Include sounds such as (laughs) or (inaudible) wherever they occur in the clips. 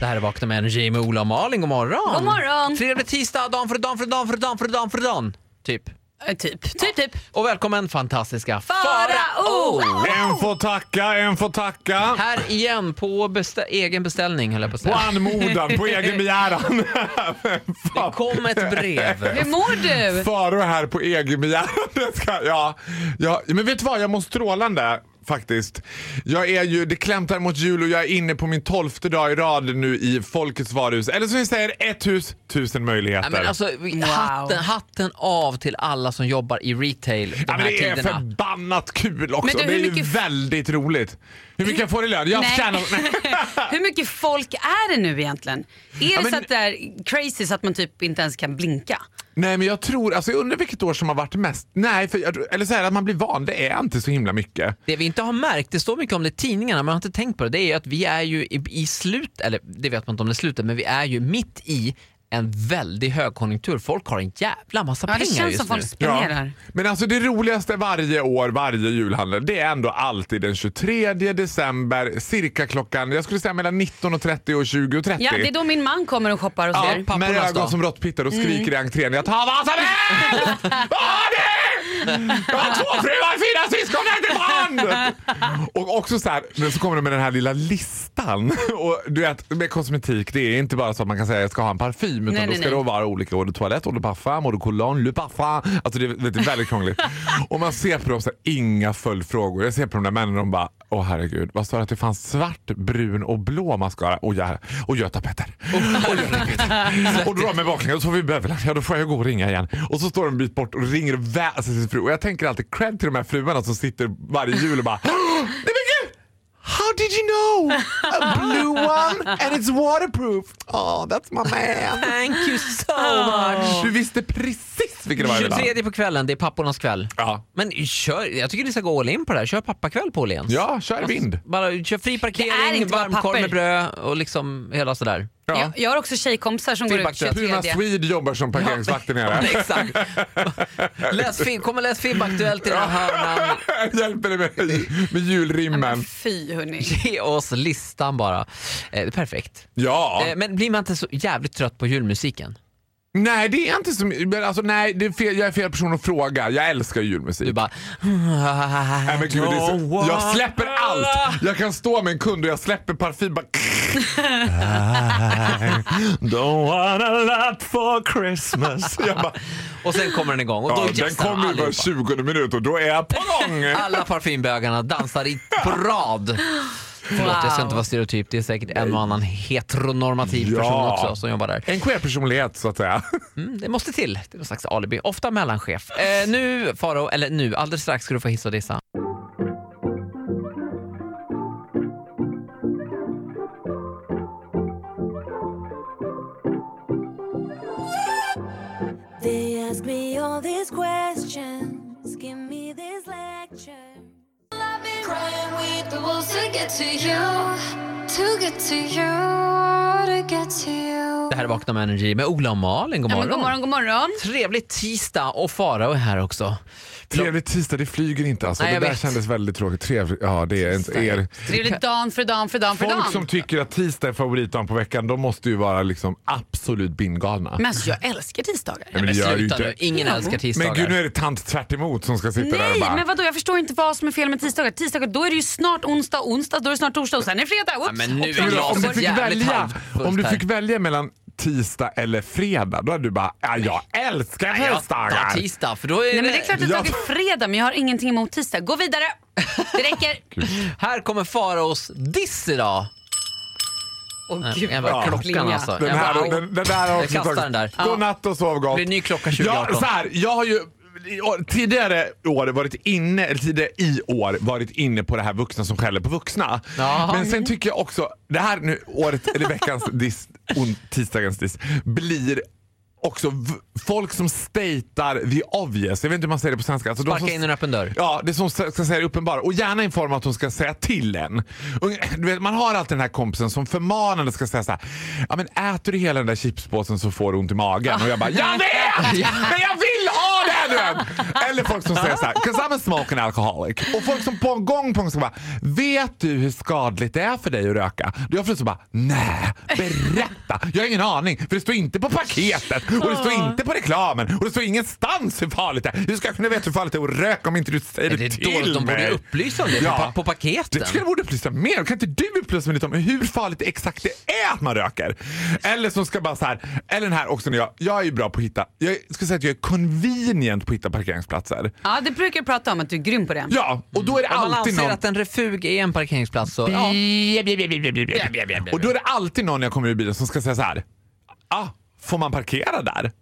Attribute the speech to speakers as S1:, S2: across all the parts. S1: Det här är Vakna med Energy med Ola och Malin. God morgon!
S2: God morgon!
S1: Trevlig tisdag, dan för dan för dan för dan för dan för dan. Typ.
S2: Eh, Typ, typ, typ.
S1: Och välkommen fantastiska
S2: Farao!
S3: En får tacka, en får tacka.
S1: Här igen på bestä- egen beställning höll jag på att
S3: På
S1: säga.
S3: anmodan, på egen begäran.
S1: (laughs) Det kom ett
S3: (laughs)
S1: brev.
S2: Hur mår du?
S3: Faro här på egen begäran. (laughs) Det ska- Ja, ja, men vet du vad, jag mår strålande faktiskt. Jag är ju, det klämtar mot jul och jag är inne på min tolfte dag i rad nu i Folkets varuhus. Eller som ni säger, ett hus, tusen möjligheter.
S1: Ja, men alltså, hatten, hatten av till alla som jobbar i retail de
S3: Ja, men
S1: här
S3: det är
S1: tiderna.
S3: förbannat kul också.
S2: Men du,
S3: det är
S2: hur
S3: ju
S2: mycket-
S3: väldigt roligt. Hur mycket jag får i lön? Jag
S2: Nej.
S3: tjänar...
S1: (laughs)
S3: Nej.
S2: Hur mycket folk är det nu egentligen? Är det
S3: men-
S2: så att det är crazy så att man typ inte ens kan blinka?
S3: Nej men jag tror, alltså jag undrar vilket år som har varit mest. Nej, för jag, eller så här att man blir van, det är inte så himla mycket.
S1: Det vi inte har märkt, det står mycket om det i tidningarna men jag har inte tänkt på det, det är ju att vi är ju i, i slut, eller det vet man inte om det är slutet, men vi är ju mitt i en väldig högkonjunktur. Folk har en jävla massa
S2: Ja, det
S1: pengar
S2: känns
S1: just
S2: som
S1: nu.
S2: folk spenderar.
S3: Men alltså det roligaste varje år, varje julhandel, det är ändå alltid den 23 december cirka klockan, jag skulle säga mellan 19.30 och 20.30.
S2: Ja, det är då Mm. min man kommer och shoppar hos
S3: Ja,
S2: er.
S1: pappornas
S3: med ögon
S1: dag.
S3: som råttpittar och skriker i entrén. Jag tar vad som
S2: (laughs)
S3: helst! Vad har ni? Jag har två fruar, fyra syskon, ett barn! Och också så här, men så kommer de med den här lilla listan. (laughs) Och du vet, med kosmetik, det är inte bara så att man kan säga jag ska ha en parfym. Utan
S2: Nej,
S3: då
S2: nej,
S3: ska
S2: nej.
S3: det vara olika eau de toilette, eau de parfum, eau de cologne, le parfum. Alltså det är det är väldigt krångligt. Och man ser på dem så här, inga följdfrågor. Jag ser på de där männen och de bara, åh herregud, vad sa du att det fanns svart, brun och blå mascara? Och, jag, och Götapetter. Och Götapetter. och dra mig baklänges och så får vi Beveland. Ja, då får jag gå och ringa igen. Och så står de en bit bort och ringer och väser sin fru. Och jag tänker alltid cred till de här fruarna som sitter varje jul och bara, "Åh, nej men gud! How did you know? A blue one and it's waterproof. Oh, that's my man.
S1: Thank you so much!
S3: Du visste precis vilken det var idag.
S1: 23 på kvällen, det är pappornas kväll.
S3: Ja.
S1: Men kör, jag tycker ni ska gå all in på det här. Kör pappakväll på Åhléns.
S3: ja,
S1: Alltså,
S3: kör vind.
S1: Bara kör fri
S2: Det är
S1: parkering,
S2: inte bara
S1: varmkorv
S2: papper.
S1: med bröd och liksom hela sådär.
S3: Ja.
S2: Jag, jag har också tjejkompisar som går ut
S1: Feedback-träff.
S2: 23.
S3: Puma Swede jobbar som parkeringsvakter nere.
S1: (laughs) Exakt. Läs, Fib- kom och läs FIB-aktuellt i den här hörnan.
S3: (laughs) Hjälper dig med, med
S2: Men
S3: julrimmen.
S2: fy hörni.
S1: Ge oss listan bara. Eh, det är perfekt.
S3: Ja.
S1: Eh, men blir man inte så jävligt trött på julmusiken?
S3: Nej, det är inte så my- men alltså, nej, det är fel, jag är fel person att fråga. Jag älskar julmusik.
S1: Du bara...
S3: Nej, men gud, det är
S1: Don't
S3: så,
S1: want-
S3: jag släpper
S1: (laughs)
S3: allt! Jag kan stå med en kund och jag släpper parfym bara... I don't want a lot for
S1: (laughs)
S3: Christmas. Jag bara,
S1: Och sen kommer den igång och då
S3: ja, den
S1: jazzar
S3: kommer ju var
S1: allihopa.
S3: 20 minut och då är jag på gång!
S1: (laughs) Alla parfymbögarna dansar
S3: (laughs)
S1: i på rad. Förlåt, jag ska inte vara stereotyp. Det är säkert en och annan heteronormativ person
S3: Ja.
S1: också som jobbar där.
S3: En queer-personlighet så att säga. (laughs)
S1: Mm, det måste till. Det är någon slags alibi. Ofta mellanchef. Eh, nu, Faro, eller nu, alldeles strax ska du få hissa och dissa.
S4: They ask me all these questions, give me this lecture. I've been crying with the walls to get to you, to get to you, to get to you.
S1: Det här är Vakna med Energy med Ola och Malin. God
S2: Ja,
S1: morgon.
S2: men god morgon, god morgon.
S1: Trevlig tisdag och Farao är här också.
S3: Trevlig tisdag, det flyger inte alltså.
S1: Nej, jag
S3: det där
S1: vet.
S3: kändes väldigt tråkigt. Trevlig, ja, det är inte er.
S2: Trevligt dan för dan för dan för
S3: Folk som
S2: dan.
S3: tycker att tisdag är favoritdagen på veckan, de måste ju vara liksom absolut bindgalna.
S2: Men alltså jag älskar tisdagar.
S3: Nej, men det gör ju
S1: sluta nu.
S3: inte.
S1: Ingen älskar tisdagar.
S3: Men gud, nu är det tant tvärt emot som ska sitta där och
S2: Nej,
S3: bara...
S2: men vadå? Jag förstår inte vad som är fel med tisdagar. Tisdagar, då är det ju snart onsdag, onsdag, då är det snart torsdag och sen är det fredag. Oops.
S1: Ja, men nu
S2: Och
S1: är
S2: sen
S1: jag
S2: så
S3: om,
S1: så
S3: du
S2: går-
S3: fick
S1: jävligt
S3: välja,
S1: halvfullt
S3: om du
S1: här.
S3: fick välja mellan tisdag eller fredag, då hade du bara, ja, jag älskar
S1: Jag tar
S3: tisdagar.
S1: tisdag för då är
S2: Nej, men det är klart att jag
S3: Jag-
S2: är fredag, men jag har ingenting emot tisdag. Gå vidare! Det räcker.
S1: Här kommer Faraos diss idag.
S2: Åh
S1: Nej,
S2: gud,
S1: jag
S2: vad
S1: bara, klockan
S2: klinga.
S1: alltså.
S3: Den,
S1: jag
S3: här,
S1: bara,
S3: den, den där har
S1: Jag
S3: också
S1: kastar
S3: tagit-
S1: den där.
S3: Godnatt och sov gott.
S1: Det blir ny klocka
S3: Ja,
S1: 2018.
S3: så här, jag har ju i år- tidigare år varit inne, eller tidigare i år varit inne på det här vuxna som skäller på vuxna.
S1: Ja.
S3: Men sen tycker jag också, det här nu året, eller veckans diss, on, tisdagens diss, blir också v- folk som statar the obvious. Jag vet inte hur man säger det på svenska. Alltså de
S1: Sparka
S3: som-
S1: in en öppen dörr.
S3: Ja, det som ska ska säga det uppenbara. Och gärna i form av att hon ska säga till en. Och, Du vet, man har alltid den här kompisen som förmanande ska säga så här. Ja, men äter du hela den där chipspåsen så får du ont i magen. Och jag bara, jag vet! Men jag vill ha Där du är! Eller folk som säger så här, 'cause I'm a smoking alcoholic. Och folk som på en gång på en gång ska bara, vet du hur skadligt det är för dig att röka? Då jag så bara, nej, berätta! Jag har ingen aning, för det står inte på paketet och det står inte på reklamen och det står ingenstans hur farligt det är. Hur ska jag kunna veta hur farligt det är att röka om inte du säger
S1: Det
S3: det,
S1: är
S3: till
S1: dåligt, de borde
S3: mig?
S1: upplysa om det
S3: Ja.
S1: på, pa- på paketen.
S3: Det tycker jag borde upplysa mer. Kan inte du upplysa mig lite om hur farligt det exakt det är att man röker? Eller som ska bara så här, eller den här också när jag, jag är ju bra på att hitta, jag ska säga att jag är convenient på att hitta parkeringsplatser.
S2: Ja, det brukar du prata om att du är grym på det.
S3: Ja, och då är det
S1: Om man
S3: alltid
S1: anser
S3: någon...
S1: att en refug är en parkeringsplats så... Ja.
S3: Och då är det alltid någon när jag kommer ur bilen som ska säga så här, ah, får man parkera där?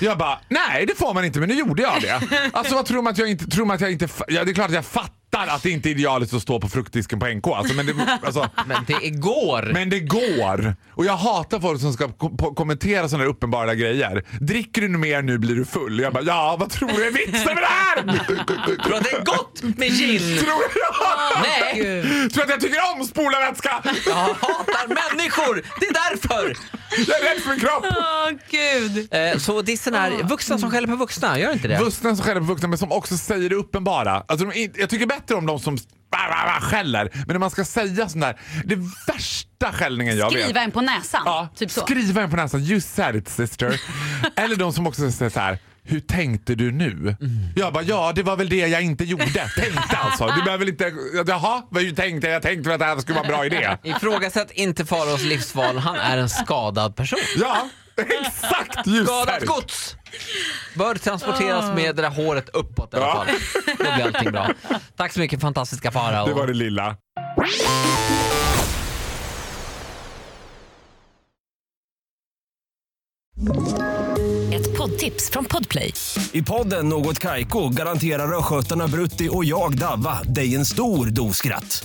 S3: Jag bara, nej det får man inte men nu gjorde jag det. Alltså vad tror man att jag inte, tror man att jag inte, fa- ja, det är klart att jag fattar att det inte är idealiskt att stå på fruktdisken på NK. Alltså, men det, alltså,
S1: Men det är igår.
S3: Men det går! Och jag hatar folk som ska ko- po- kommentera sådana uppenbara grejer. Dricker du mer nu blir du full. Jag bara, ja vad tror du är vitsen med
S1: (laughs)
S3: det här?
S1: Tror du att det är gott med
S3: (laughs)
S1: gin?
S3: tror, jag,
S1: Nej,
S3: tror att jag tycker om spola vätska?
S1: jag hatar människor. Det är därför.
S3: Jag är rädd för min kropp!
S2: Åh gud.
S1: Eh, Så dissen är
S3: Ah.
S1: vuxna som skäller på vuxna, gör inte det?
S3: Vuxna som skäller på vuxna men som också säger det uppenbara. Alltså, de, är inte- jag tycker bättre om de som bah, bah, bah, skäller. Men när man ska säga sån där, det värsta skällningen jag vet.
S2: Skriva en på näsan.
S3: Ja,
S2: Typ så.
S3: skriva en på näsan. You said
S2: (laughs)
S3: it sister. Eller de som också säger så här. Hur tänkte du nu?
S2: Mm.
S3: Jag bara, ja det var väl det jag
S2: (laughs)
S3: inte gjorde. Tänkte alltså. Du behöver väl inte, jaha, vad tänkte jag? Jag tänkte väl att det här skulle vara en
S2: (laughs)
S3: bra idé.
S1: Ifrågasätt inte Faraos livsval, han är en skadad person.
S3: Ja, exakt you said
S1: Skadat
S3: it.
S1: gods bör transporteras med det där håret uppåt i alla
S3: Ah. Ja.
S1: fall. Då blir allting bra. Tack så mycket fantastiska Farao.
S3: Det var det lilla.
S5: Ett poddtips från Podplay.
S6: I podden Något Kaiko garanterar östgötarna Brutti och jag, Davva, dig en stor dos skratt.